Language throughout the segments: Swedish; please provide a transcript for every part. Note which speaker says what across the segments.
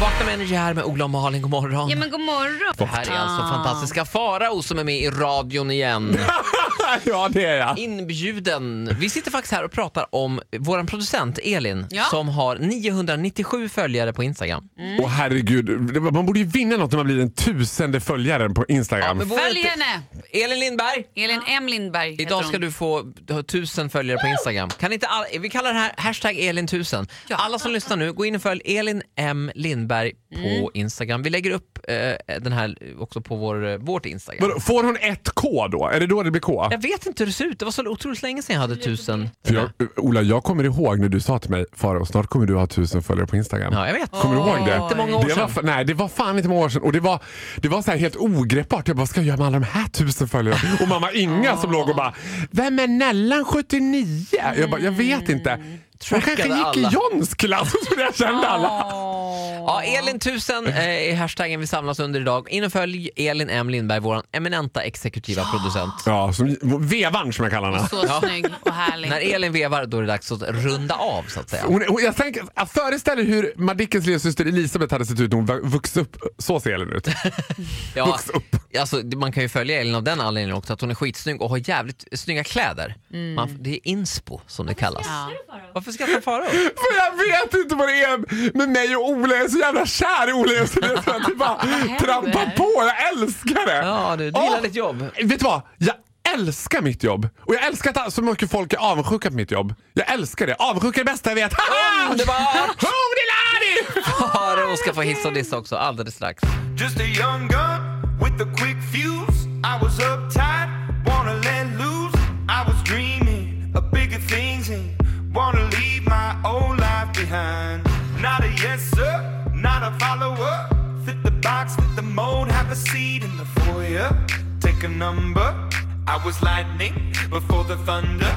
Speaker 1: Vakna med Energy här med Ola och Malin, god morgon.
Speaker 2: Ja men god morgon.
Speaker 1: Det här är alltså fantastiska Farao som är med i radion igen.
Speaker 3: ja, det är jag.
Speaker 1: Inbjuden. Vi sitter faktiskt här och pratar om vår producent Elin
Speaker 2: Ja. Mm.
Speaker 1: som har 997 följare på Instagram.
Speaker 3: Åh herregud, Det- man borde ju vinna något när man blir den tusende följaren på Instagram.
Speaker 1: men vår-
Speaker 2: Följ henne!
Speaker 1: Elin Lindberg,
Speaker 2: Elin M Lindberg heter
Speaker 1: idag ska
Speaker 2: hon.
Speaker 1: du få ha 1000 följare på Instagram. Kan inte alla, vi kallar det här hashtag Elin1000.
Speaker 2: Ja.
Speaker 1: Alla som lyssnar nu, gå in och följ Elin M Lindberg
Speaker 2: Mm.
Speaker 1: på Instagram. Vi lägger upp eh, den här också på vår, eh, vårt Instagram.
Speaker 3: Vadå, Får hon ett K då? Är det då det blir K?
Speaker 1: Jag vet inte hur det ser ut, det var så otroligt länge sedan jag hade 1000.
Speaker 3: För jag, Ola, jag kommer ihåg när du sa till mig Farao, snart kommer du ha tusen följare på Instagram.
Speaker 1: Ja, jag vet.
Speaker 3: Kommer du ihåg det?
Speaker 1: Inte många år
Speaker 3: det var,
Speaker 1: sedan.
Speaker 3: fa- nej, det var fan inte många år sedan. Och det var, det var så här helt ogreppbart. Jag bara, vad ska jag göra med alla de här tusen följarna? Och mamma Inga som låg och bara, vem är Nellan 79? Jag bara, jag vet inte. Hon kanske
Speaker 1: Trackade
Speaker 3: gick i
Speaker 1: alla.
Speaker 3: Johns klass, så jag kände alla.
Speaker 1: Ja, Elin1000 eh, är hashtaggen vi samlas under idag. In och följ Elin M Lindberg, vår eminenta exekutiva producent.
Speaker 3: Ja, som, vevan som jag kallar henne.
Speaker 2: Så snygg och härlig.
Speaker 1: När Elin vevar då är det dags att runda av så att säga.
Speaker 3: Hon, hon, jag, tänker, jag föreställer hur Madickens lillasyster Elisabeth hade sett ut när hon var- vuxit upp. Så ser Elin ut.
Speaker 1: Ja,
Speaker 3: vuxit upp.
Speaker 1: alltså, det- man kan ju följa Elin av den anledningen också att hon är skitsnygg och har jävligt snygga kläder.
Speaker 2: Mm.
Speaker 1: Man, det är inspo som det kallas.
Speaker 2: Ja.
Speaker 1: Varför skrattar Farao?
Speaker 3: För jag vet inte vad det är med mig och Ola. Jag är så jävla kär i Ola. Jag är så jag tror att det bara trampar på. Jag älskar det.
Speaker 1: Ja, du, du gillar
Speaker 3: Åh,
Speaker 1: ditt jobb.
Speaker 3: Vet du vad? Jag älskar mitt jobb. Och jag älskar att så mycket folk är avundsjuka på mitt jobb. Jag älskar det. Avundsjuka är det bästa jag vet.
Speaker 2: Ah!
Speaker 3: Haha!
Speaker 1: Underbart!
Speaker 3: Hodelari!
Speaker 1: Farao Ah, ska få hissa och dissa också alldeles strax.
Speaker 4: Just a young gun with a quick fuse. I was uptight, wanna let loose. I was dreaming of bigger things and wanna leave my old life behind. Not a yes, sir, not a follower. Fit the box, fit the mold, have a seat in the foyer. Take a number. I was lightning before the thunder.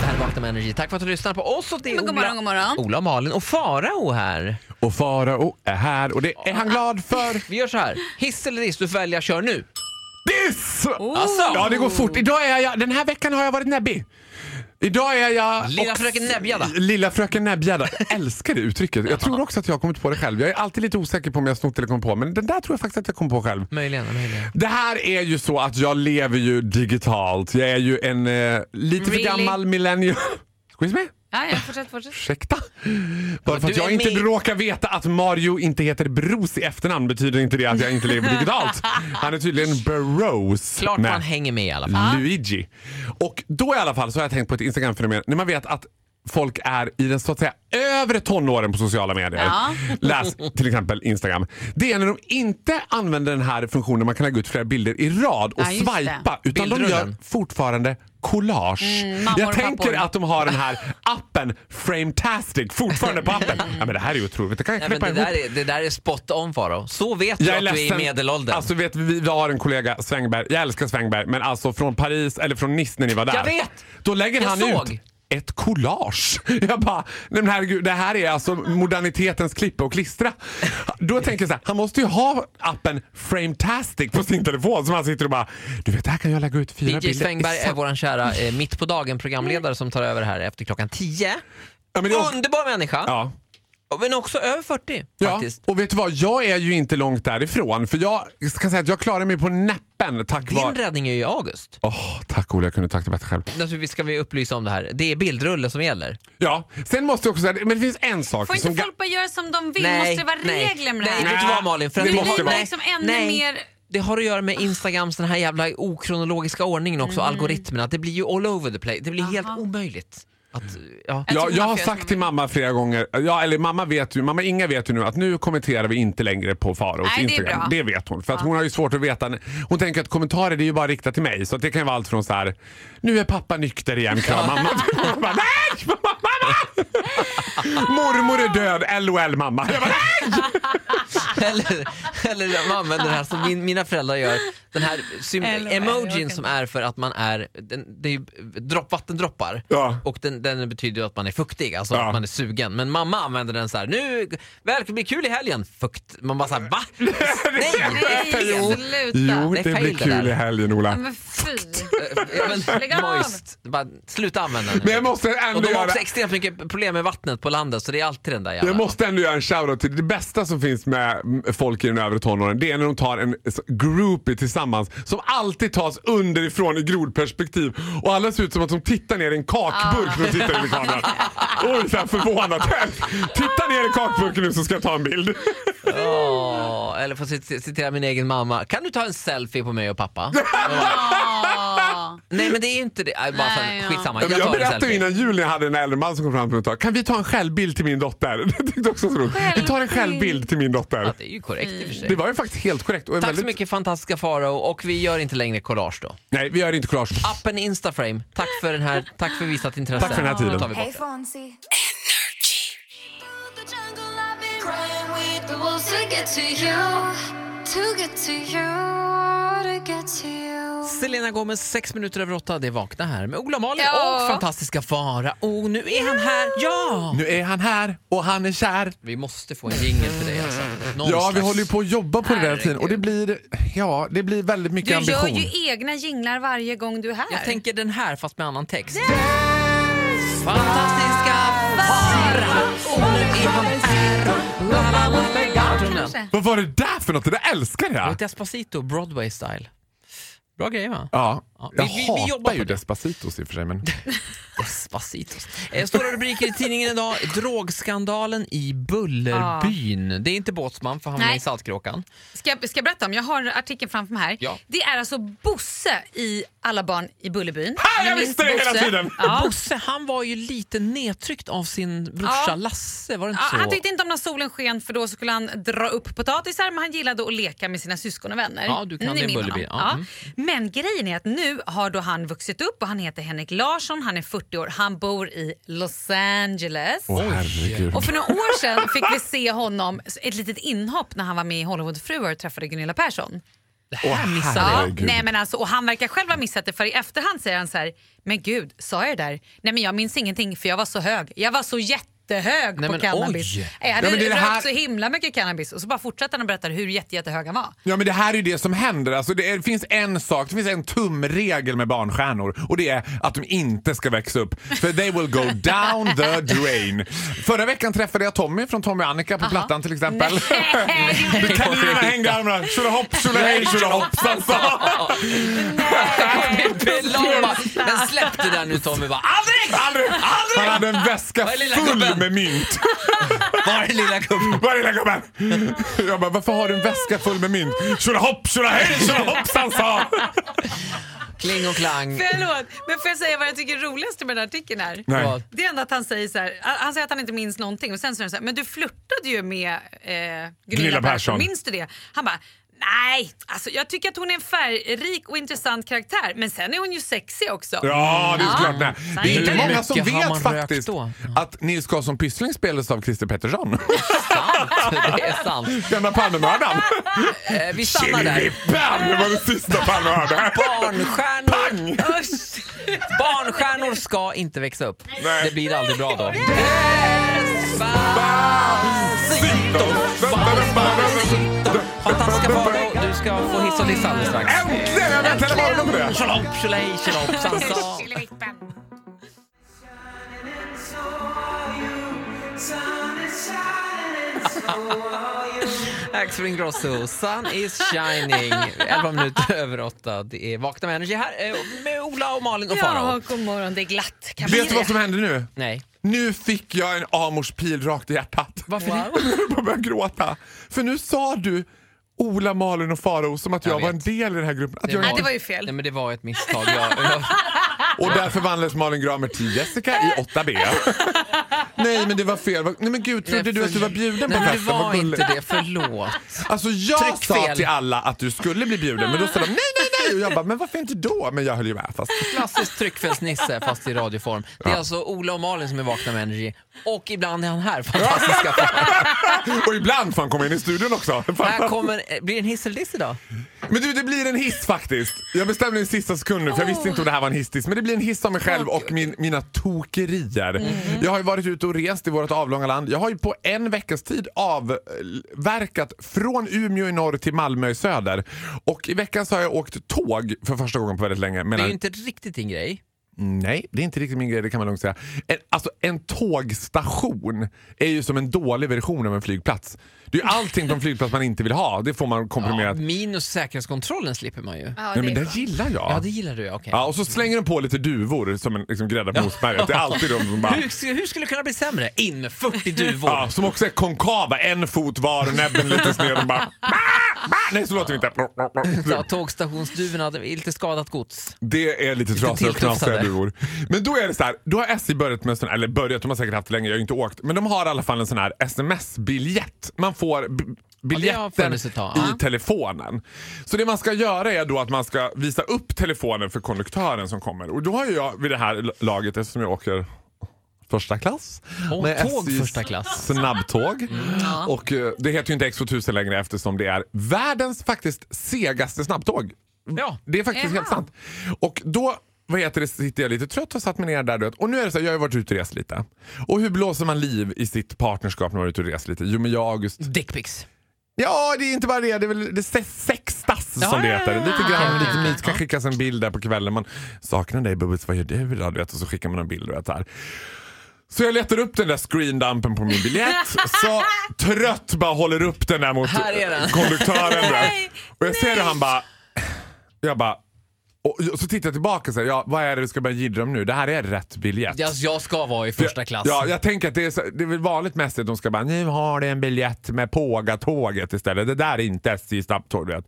Speaker 1: Det här är Vakna med Energy. Tack för att du lyssnar på oss och det är
Speaker 2: Men god
Speaker 1: Ola,
Speaker 2: morgon, god morgon.
Speaker 1: Ola och Malin och Farao här.
Speaker 3: Och Farao är här och det är han glad för.
Speaker 1: Vi gör så här. Hiss eller diss, du får välja. Kör nu.
Speaker 3: Diss!
Speaker 1: Alltså.
Speaker 3: Ja, det går fort. Idag är jag, den här veckan har jag varit näbbig. Idag är jag...
Speaker 1: Lilla
Speaker 3: och-
Speaker 1: fröken Näbbgädda.
Speaker 3: Lilla fröken Näbbgädda. Jag Älskar det uttrycket. Jag tror också att jag har kommit på det själv. Jag är alltid lite osäker på om jag har snott eller kom på, men den där tror jag faktiskt att jag kom på själv.
Speaker 1: Möjligen, möjligen.
Speaker 3: Det här är ju så att jag lever ju digitalt. Jag är ju en eh,
Speaker 2: Really?
Speaker 3: lite för gammal millennium. Squeeze me?
Speaker 2: Ja, ja, fortsätt, fortsätt.
Speaker 3: Ursäkta? Bara för
Speaker 1: du
Speaker 3: att jag
Speaker 1: är
Speaker 3: inte
Speaker 1: med-
Speaker 3: råkar veta att Mario inte heter Bros i efternamn betyder inte det att jag inte lever digitalt. Han är tydligen Burrows.
Speaker 1: Klart
Speaker 3: med
Speaker 1: man hänger med i alla fall.
Speaker 3: Luigi. Och då i alla fall så har jag tänkt på ett Instagram-fenomen. När man vet att folk är i den så att säga övre tonåren på sociala medier.
Speaker 2: Ja.
Speaker 3: Läs till exempel Instagram. Det är när de inte använder den här funktionen man kan lägga ut flera bilder i rad och
Speaker 2: Ja, just det.
Speaker 3: swipa. Utan de gör
Speaker 1: Bildrullen.
Speaker 3: fortfarande collage.
Speaker 2: mammor
Speaker 3: jag
Speaker 2: och
Speaker 3: tänker
Speaker 2: pappor.
Speaker 3: att de har den här appen Frametastic fortfarande på appen. Ja, men det här är ju otroligt. Det kan jag
Speaker 1: Nej, men
Speaker 3: knäppa
Speaker 1: det,
Speaker 3: ihop.
Speaker 1: där är, det där är spot on Faro. Så vet
Speaker 3: Jag
Speaker 1: du
Speaker 3: är
Speaker 1: att du är i
Speaker 3: ledsen.
Speaker 1: medelåldern.
Speaker 3: Alltså vet vi, vi har en kollega, Svängberg. Jag älskar Svängberg. Men alltså från Paris, eller från Nice när ni var där.
Speaker 1: Jag vet!
Speaker 3: Då lägger
Speaker 1: Jag
Speaker 3: han
Speaker 1: såg.
Speaker 3: ut ett collage. Jag bara, nej men herregud, det här är alltså modernitetens klippa och klistra. Då tänker jag så här, han måste ju ha appen Frametastic på sin telefon som han sitter och bara, du vet här kan jag lägga ut fyra bilder.
Speaker 1: DJ
Speaker 3: i
Speaker 1: Svängberg är
Speaker 3: sam-
Speaker 1: vår kära eh, Mitt på dagen programledare som tar över här efter klockan 10.
Speaker 3: ja, men det är,
Speaker 1: Underbar människa,
Speaker 3: ja.
Speaker 1: men också över 40 faktiskt.
Speaker 3: och vet du vad? Jag är ju inte långt därifrån. För jag kan säga att jag klarar mig på näppen tack
Speaker 1: Din
Speaker 3: vare...
Speaker 1: räddning är ju i August.
Speaker 3: Åh, tack Ola, jag kunde tacka bättre själv.
Speaker 1: Naturligtvis ska vi upplysa om det här. Det är bildrulle som gäller.
Speaker 3: Ja, sen måste jag också säga, men det finns en sak
Speaker 2: Får
Speaker 3: som...
Speaker 2: inte folk bara göra som de vill? Måste det vara regler med det
Speaker 1: nej,
Speaker 2: här?
Speaker 1: vet du vad Malin? För
Speaker 3: Det
Speaker 1: att-
Speaker 3: måste
Speaker 2: blir
Speaker 3: vara.
Speaker 2: liksom ännu mer-
Speaker 1: Det har att göra med Instagrams den här jävla okronologiska ordningen också,
Speaker 2: Mm.
Speaker 1: algoritmerna. Det blir ju all over the place. Det blir helt omöjligt. Att, ja.
Speaker 2: Jag
Speaker 3: Jag,
Speaker 2: tror
Speaker 3: jag
Speaker 2: man
Speaker 3: har
Speaker 2: får göra
Speaker 3: sagt
Speaker 2: som
Speaker 3: till mamma flera gånger, ja, eller mamma, vet ju, mamma Inga vet ju nu att nu kommenterar vi inte längre på Faraos
Speaker 2: Nej, det är bra.
Speaker 3: Instagram. Det vet hon. För att hon har ju svårt att veta. Hon tänker att kommentarer det är ju bara riktat till mig. Så att det kan ju vara allt från så här, nu är pappa nykter igen, kram mamma. Hon bara, Nej! Mamma, mamma! Mormor är död, LOL mamma. Jag bara, nej!
Speaker 1: eller, eller att man använder det här som min, mina föräldrar gör. Den här sym-
Speaker 2: Eller vad är det? Jag
Speaker 1: emojin
Speaker 2: orkar
Speaker 1: som
Speaker 2: inte.
Speaker 1: är för att man är, den, det är ju dropp, vattendroppar
Speaker 3: Ja.
Speaker 1: och den, den betyder ju att man är fuktig, alltså
Speaker 3: Ja.
Speaker 1: att man är sugen. Men mamma använder den så här, nu, välkommen, blir kul i helgen, fukt. Man bara såhär, va? Nej,
Speaker 2: Nej,
Speaker 1: jo.
Speaker 2: sluta.
Speaker 3: Jo,
Speaker 1: Det är
Speaker 3: det
Speaker 1: fel
Speaker 3: blir
Speaker 1: det
Speaker 3: kul
Speaker 1: där.
Speaker 3: i helgen Ola.
Speaker 2: Men fy.
Speaker 1: Ja,
Speaker 2: Lägg
Speaker 1: men,
Speaker 2: av.
Speaker 1: moist. Bara, sluta använda den
Speaker 3: Men
Speaker 1: nu.
Speaker 3: jag måste
Speaker 1: Och
Speaker 3: ändå
Speaker 1: de har
Speaker 3: göra...
Speaker 1: också extremt mycket problem med vattnet på landet så det är alltid den där jävla...
Speaker 3: Jag måste ändå göra en shoutout till det bästa som finns med mm, folk i den övre tonåren. Det är när de tar en s- groupie tillsammans som alltid tas underifrån i grodperspektiv och alla ser ut som att de tittar ner i en kakburk
Speaker 1: Ah.
Speaker 3: när de tittar in i kameran. Oj, så här förvånat. Titta ner i kakburken nu så ska jag ta en bild.
Speaker 1: Ja, eller för att cit- citera min egen mamma. Kan du ta en selfie på mig och pappa?
Speaker 2: Ja.
Speaker 1: Nej men det är ju inte det. Nej, bara för,
Speaker 2: Nej, ja.
Speaker 1: Skitsamma,
Speaker 3: Jag,
Speaker 1: jag tar en
Speaker 3: berättade ju
Speaker 1: selfie.
Speaker 3: innan jul när jag hade en äldre man som kom fram till mig och sa Kan vi ta en självbild till min dotter? Det tyckte jag också var så roligt. Vi tar en självbild till min dotter.
Speaker 1: Ja, det är ju korrekt i och för sig.
Speaker 3: Det var ju faktiskt helt korrekt. Och
Speaker 1: Tack
Speaker 3: väldigt...
Speaker 1: så mycket fantastiska Farao och vi gör inte längre collage då.
Speaker 3: Nej, vi gör inte collage.
Speaker 1: Appen Instaframe, tack för, den här, tack för visat intresse.
Speaker 3: Tack för den här tiden.
Speaker 1: Nu tar vi bort
Speaker 5: Hey,
Speaker 1: det.
Speaker 5: Fonzie.
Speaker 6: the jungle, I've been crying with the wolves to get to you, to get to you, to get to you.
Speaker 1: Selena Gomez, sex minuter över åtta, det är Vakna här med Ola Malin
Speaker 2: Ja.
Speaker 1: och fantastiska Farao. Och nu är han här, ja!
Speaker 3: Nu är han här och han är kär.
Speaker 1: Vi måste få en jingel till dig alltså. Någon
Speaker 3: Ja, vi
Speaker 1: slags-
Speaker 3: håller ju på att jobba på det där
Speaker 2: Herregud.
Speaker 3: tiden och det blir, ja, det blir väldigt mycket
Speaker 2: Du gör
Speaker 3: ambition.
Speaker 2: ju egna jinglar varje gång du är här.
Speaker 1: Jag tänker den här fast med annan text. Fantastiska Farao, och nu är han här. La, la, la, la, la.
Speaker 2: Kanske.
Speaker 3: Vad var det där för något? Det där älskar jag!
Speaker 1: Och Despacito, Broadway style. Bra grej va?
Speaker 3: Ja,
Speaker 1: Ja, vi-
Speaker 3: jag
Speaker 1: vi- vi jobbar
Speaker 3: hatar
Speaker 1: på
Speaker 3: ju
Speaker 1: det.
Speaker 3: Despacitos i och för sig men
Speaker 1: Despacito. Eh, Stora rubriker i tidningen idag. Drogskandalen i Bullerbyn. Det är inte Båtsman för han är
Speaker 2: Nej.
Speaker 1: i Saltkråkan.
Speaker 2: Ska, jag, ska jag berätta om? Jag har artikeln framför mig här.
Speaker 1: Ja.
Speaker 2: Det är alltså Bosse i Alla barn i Bullerbyn.
Speaker 3: Ha, jag
Speaker 2: Ni minns
Speaker 3: visste det hela
Speaker 2: Bosse.
Speaker 3: tiden!
Speaker 2: Ja.
Speaker 1: Bosse han var ju lite nedtryckt av sin brorsa
Speaker 2: Ja.
Speaker 1: Lasse, var det
Speaker 2: Ja,
Speaker 1: inte så?
Speaker 2: han tyckte inte om när solen sken för då skulle han dra upp potatisar men han gillade att leka med sina syskon och vänner.
Speaker 1: Ja, du kan
Speaker 2: Ni
Speaker 1: din
Speaker 2: minns
Speaker 1: Bullerby.
Speaker 2: honom.
Speaker 1: Ja,
Speaker 2: Ja.
Speaker 1: mm.
Speaker 2: Men grejen är att nu har då han vuxit upp och han heter Henrik Larsson, han är 40 år, han bor i Los Angeles.
Speaker 3: Åh herregud.
Speaker 2: Och för några år sedan fick vi se honom, ett litet inhopp när han var med i Hollywoodfruar och träffade Gunilla Persson.
Speaker 3: Åh
Speaker 2: Ja,
Speaker 3: herregud.
Speaker 2: nej men alltså, och han verkar själv ha missat det för i efterhand säger han så här, men gud, sa jag det där? Nej men jag minns ingenting för jag var så hög. Jag var så jättehög
Speaker 1: Nej,
Speaker 2: på
Speaker 1: men
Speaker 2: cannabis.
Speaker 1: oj.
Speaker 2: Jag hade
Speaker 3: Ja, men det är det
Speaker 2: rökt
Speaker 3: här-
Speaker 2: så himla mycket cannabis och så bara fortsätter han och berättar hur jätte, jättehög han var.
Speaker 3: Ja men det här är ju det som händer. Alltså, det, är, det finns en sak, det finns en tumregel med barnstjärnor och det är att de inte ska växa upp. För they will go down the drain. Förra veckan träffade jag Tommy från Tommy och Annika på Plattan till exempel. Kaninerna hängde i armarna. Tjolahopp, tjolahej, tjolahoppsan
Speaker 1: Alltså.
Speaker 3: sa
Speaker 1: Laura bara, Men släpp det där nu Tommy. Bara,
Speaker 3: Aldrig! Aldrig! Han hade en väska
Speaker 1: Var är lilla
Speaker 3: full
Speaker 1: gubben?
Speaker 3: med mynt.
Speaker 1: var är lilla gubben?
Speaker 3: Var är lilla gubben? Jag bara, varför har du en väska full med mynt? Tjolahopp, tjolahej, tjolahoppsan sa
Speaker 1: Kling och klang.
Speaker 2: Förlåt, men får jag säga vad jag tycker är roligast med den här artikeln här?
Speaker 3: Nej.
Speaker 2: Det är ändå att han säger så här, han han säger att han inte minns någonting och sen säger han så här, men du flörtade ju med eh, Gunilla,
Speaker 3: Gunilla
Speaker 2: Persson.
Speaker 3: Persson.
Speaker 2: minns du det? Han bara, nej, alltså jag tycker att hon är en färgrik och intressant karaktär men sen är hon ju sexig också.
Speaker 3: Ja, det är
Speaker 2: Ja.
Speaker 3: såklart. Nej. Det är inte
Speaker 1: Hur
Speaker 3: många som
Speaker 1: Ah. mycket har
Speaker 3: vet
Speaker 1: man rökt
Speaker 3: faktiskt
Speaker 1: då?
Speaker 3: att Nils Karlsson Pyssling spelades av Christer Pettersson.
Speaker 1: Det är sant.
Speaker 3: Gamla Palmemördaren.
Speaker 1: Eh, Vi stannar där.
Speaker 3: Bam! Det var det sista Palme hörde.
Speaker 1: Barnstjärnor,
Speaker 2: Usch.
Speaker 1: barnstjärnor ska inte växa upp.
Speaker 3: Nej.
Speaker 1: Det blir aldrig bra då. Fantastiska Farao, du ska få hiss och diss alldeles strax.
Speaker 3: Äntligen! Jag väntade bara på det.
Speaker 1: Tjolahopp, tjolahej, tjolahopp, sansa. Axel Ingrosso, Sun is shining. 11 minuter över åtta. Det är Vakna med Energy här eh, med Ola och Malin och
Speaker 2: Ja,
Speaker 1: Farao.
Speaker 2: god morgon, det är glatt. Kan
Speaker 3: Vet du vad som hände nu?
Speaker 1: Nej.
Speaker 3: Nu fick jag en Amors pil rakt i hjärtat.
Speaker 1: Varför
Speaker 2: Wow.
Speaker 1: det?
Speaker 3: Jag började gråta. För nu sa du Ola, Malin och Farao som att jag,
Speaker 1: Jag
Speaker 3: var en
Speaker 1: vet.
Speaker 3: del i den här gruppen. Att jag
Speaker 2: Nej,
Speaker 3: inte-
Speaker 2: det var ju fel.
Speaker 1: Nej, men det var ett misstag. Jag, jag,
Speaker 3: Och där förvandlades Malin Gramer till Jessica i 8B. Nej men det var fel. Nej men gud, trodde du att du var bjuden
Speaker 1: Nej,
Speaker 3: på
Speaker 1: men det
Speaker 3: festen? Vad
Speaker 1: var
Speaker 3: gulligt.
Speaker 1: inte det. Förlåt.
Speaker 3: Alltså jag
Speaker 1: Tryckfel.
Speaker 3: sa till alla att du skulle bli bjuden men då sa de nej, nej, nej. Och jag bara, men varför inte då? Men jag höll ju med fast.
Speaker 1: Klassisk tryckfelsnisse fast i radioform. Det är alltså Ola och Malin som är Vakna med Energy och ibland är han här. Fantastiska fan.
Speaker 3: Och ibland får han komma in i studion också.
Speaker 1: Här kommer, eh, blir det en hiss eller diss idag?
Speaker 3: Men du, det blir en hiss faktiskt. Jag bestämde i sista sekund nu för jag visste inte om det här var en hiss Men det blir en hiss av mig själv och min, mina tokerier.
Speaker 1: Mm.
Speaker 3: Jag har ju varit ute och rest i vårt avlånga land. Jag har ju på en veckas tid avverkat från Umeå i norr till Malmö i söder. Och i veckan så har jag åkt tåg för första gången på väldigt länge.
Speaker 1: Det är
Speaker 3: Medan...
Speaker 1: ju inte riktigt din grej.
Speaker 3: Nej, det är inte riktigt min grej, det kan man lugnt säga. En, alltså en tågstation är ju som en dålig version av en flygplats. Det är ju allting på en flygplats man inte vill ha. Det får man komprimerat.
Speaker 1: Minus säkerhetskontrollen slipper man ju.
Speaker 2: Ja,
Speaker 3: Nej, men
Speaker 2: det är
Speaker 3: den
Speaker 2: bra.
Speaker 3: gillar jag.
Speaker 1: Ja, det gillar du ja, okej.
Speaker 3: Ja, och så slänger de på lite duvor som en liksom, grädda på mosberget. Det är alltid de som bara...
Speaker 1: Hur, sk- hur skulle det kunna bli sämre? In med 40 duvor.
Speaker 3: Ja, som också är konkava, en fot var och näbben lite sned. Och bara, "Bah, bah." Nej, så låter det
Speaker 1: Ja,
Speaker 3: inte.
Speaker 1: tågstationsduvorna hade lite skadat gods.
Speaker 3: Det är lite trasiga och
Speaker 1: tilltufsade.
Speaker 3: knasiga duvor. Men då är det så här, då har SJ börjat med sån eller börjat, de har säkert haft det länge, jag har ju inte åkt. Men de har i alla fall en sån här sms-biljett. Man får b-
Speaker 1: har
Speaker 3: biljetten
Speaker 1: funnits ett tag, ja.
Speaker 3: i telefonen. Så det man ska göra är då att man ska visa upp telefonen för konduktören som kommer. Och då har ju jag vid det här laget, eftersom jag åker första klass.
Speaker 1: Åh,
Speaker 3: med
Speaker 1: tåg
Speaker 3: SJs
Speaker 1: första klass. Mm,
Speaker 3: Snabbtåg. Och eh, det heter ju inte X2000 längre eftersom det är världens faktiskt segaste snabbtåg.
Speaker 1: Ja.
Speaker 3: Det är faktiskt helt
Speaker 2: Jaha.
Speaker 3: sant. Och då vad heter det, sitter jag lite trött och satt mig ner där. du vet. Och nu är det så här, jag har ju varit ute och rest lite. Och hur blåser man liv i sitt partnerskap när man är ute och reser lite? Jo men jag och August.
Speaker 1: Dickpics.
Speaker 3: Ja, det är inte bara det. Det är väl det se- sextas som det heter. Lite grann, lite mys. Kan skickas en bild där på kvällen. Man saknar dig Bubbis, vad gör du idag? Du vet, och så skickar man en bild. Du vet, så här. Så jag letar upp den där screendumpen på min biljett. Så trött bara håller upp den där mot
Speaker 1: Här är den.
Speaker 3: konduktören. där.
Speaker 2: Nej,
Speaker 3: Och jag ser hur han bara... Jag bara... Och och så tittar jag tillbaka och säger, ja, vad är det du ska börja jiddra om nu? Det här är rätt biljett.
Speaker 1: Jag, alltså, jag ska vara i första klass.
Speaker 3: Ja, jag tänker att det är, så, det är väl vanligt mest att de ska bara nu har du en biljett med Pågatåget istället. Det där är inte SJ snabbtåg du vet.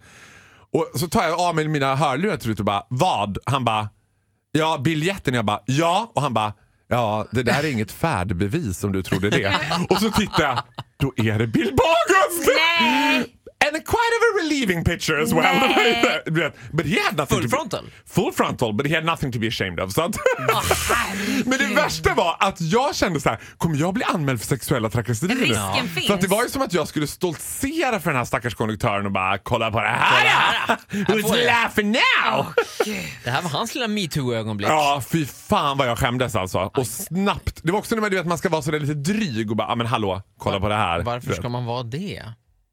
Speaker 3: Och så tar jag av mig mina hörlurar till slut och bara vad? Han bara ja biljetten. Jag bara ja och han bara ja det där är inget färdbevis om du trodde det. och så tittar jag då är det Bill Bagus!
Speaker 2: Nej!
Speaker 3: And a quite of a relieving picture as well.
Speaker 2: Nej.
Speaker 3: Du vet, but he had nothing
Speaker 1: Full
Speaker 3: to be-
Speaker 1: frontal?
Speaker 3: Full frontal, but he had nothing to be ashamed of. Så att
Speaker 2: herregud.
Speaker 3: Men det värsta var att jag kände så här, kommer jag bli anmäld för sexuella trakasserier nu?
Speaker 2: Risken
Speaker 3: Ja.
Speaker 2: finns.
Speaker 3: För att det var ju som att jag skulle stoltsera för den här stackars konduktören och bara kolla på det här! Oh, ja!
Speaker 1: får
Speaker 3: Who's
Speaker 1: jag.
Speaker 3: laughing now?
Speaker 1: Det här var hans lilla metoo-ögonblick.
Speaker 3: Ja, fy fan vad jag skämdes alltså. Och snabbt. Det var också när man, du vet, man ska vara så där lite dryg och bara, ah, men hallå, kolla på det här.
Speaker 1: Varför ska man vara det?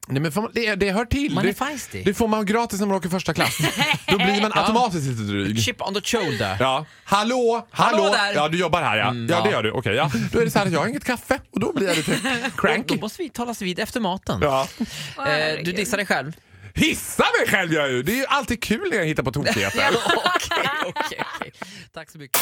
Speaker 3: Nej, men får man, det, det hör till.
Speaker 1: Man är
Speaker 3: det,
Speaker 1: feisty.
Speaker 3: det får man gratis när man åker första klass. Då blir man automatiskt lite dryg.
Speaker 1: Chip on the shoulder.
Speaker 3: Ja. Hallå, hallå!
Speaker 1: Hallå där.
Speaker 3: Ja, du jobbar här ja. ja, det gör du. Okej, ja. Då är det så här att jag har inget kaffe och då blir jag lite
Speaker 1: Då
Speaker 3: cranky.
Speaker 1: måste vi talas vid efter maten.
Speaker 3: Ja.
Speaker 2: Åh,
Speaker 1: Eh, du
Speaker 2: herregud.
Speaker 1: dissar dig själv.
Speaker 3: Hissa mig själv gör jag ju! Det är ju alltid kul när jag hittar på tokigheter.
Speaker 1: Okej, okej, okej. Tack så mycket.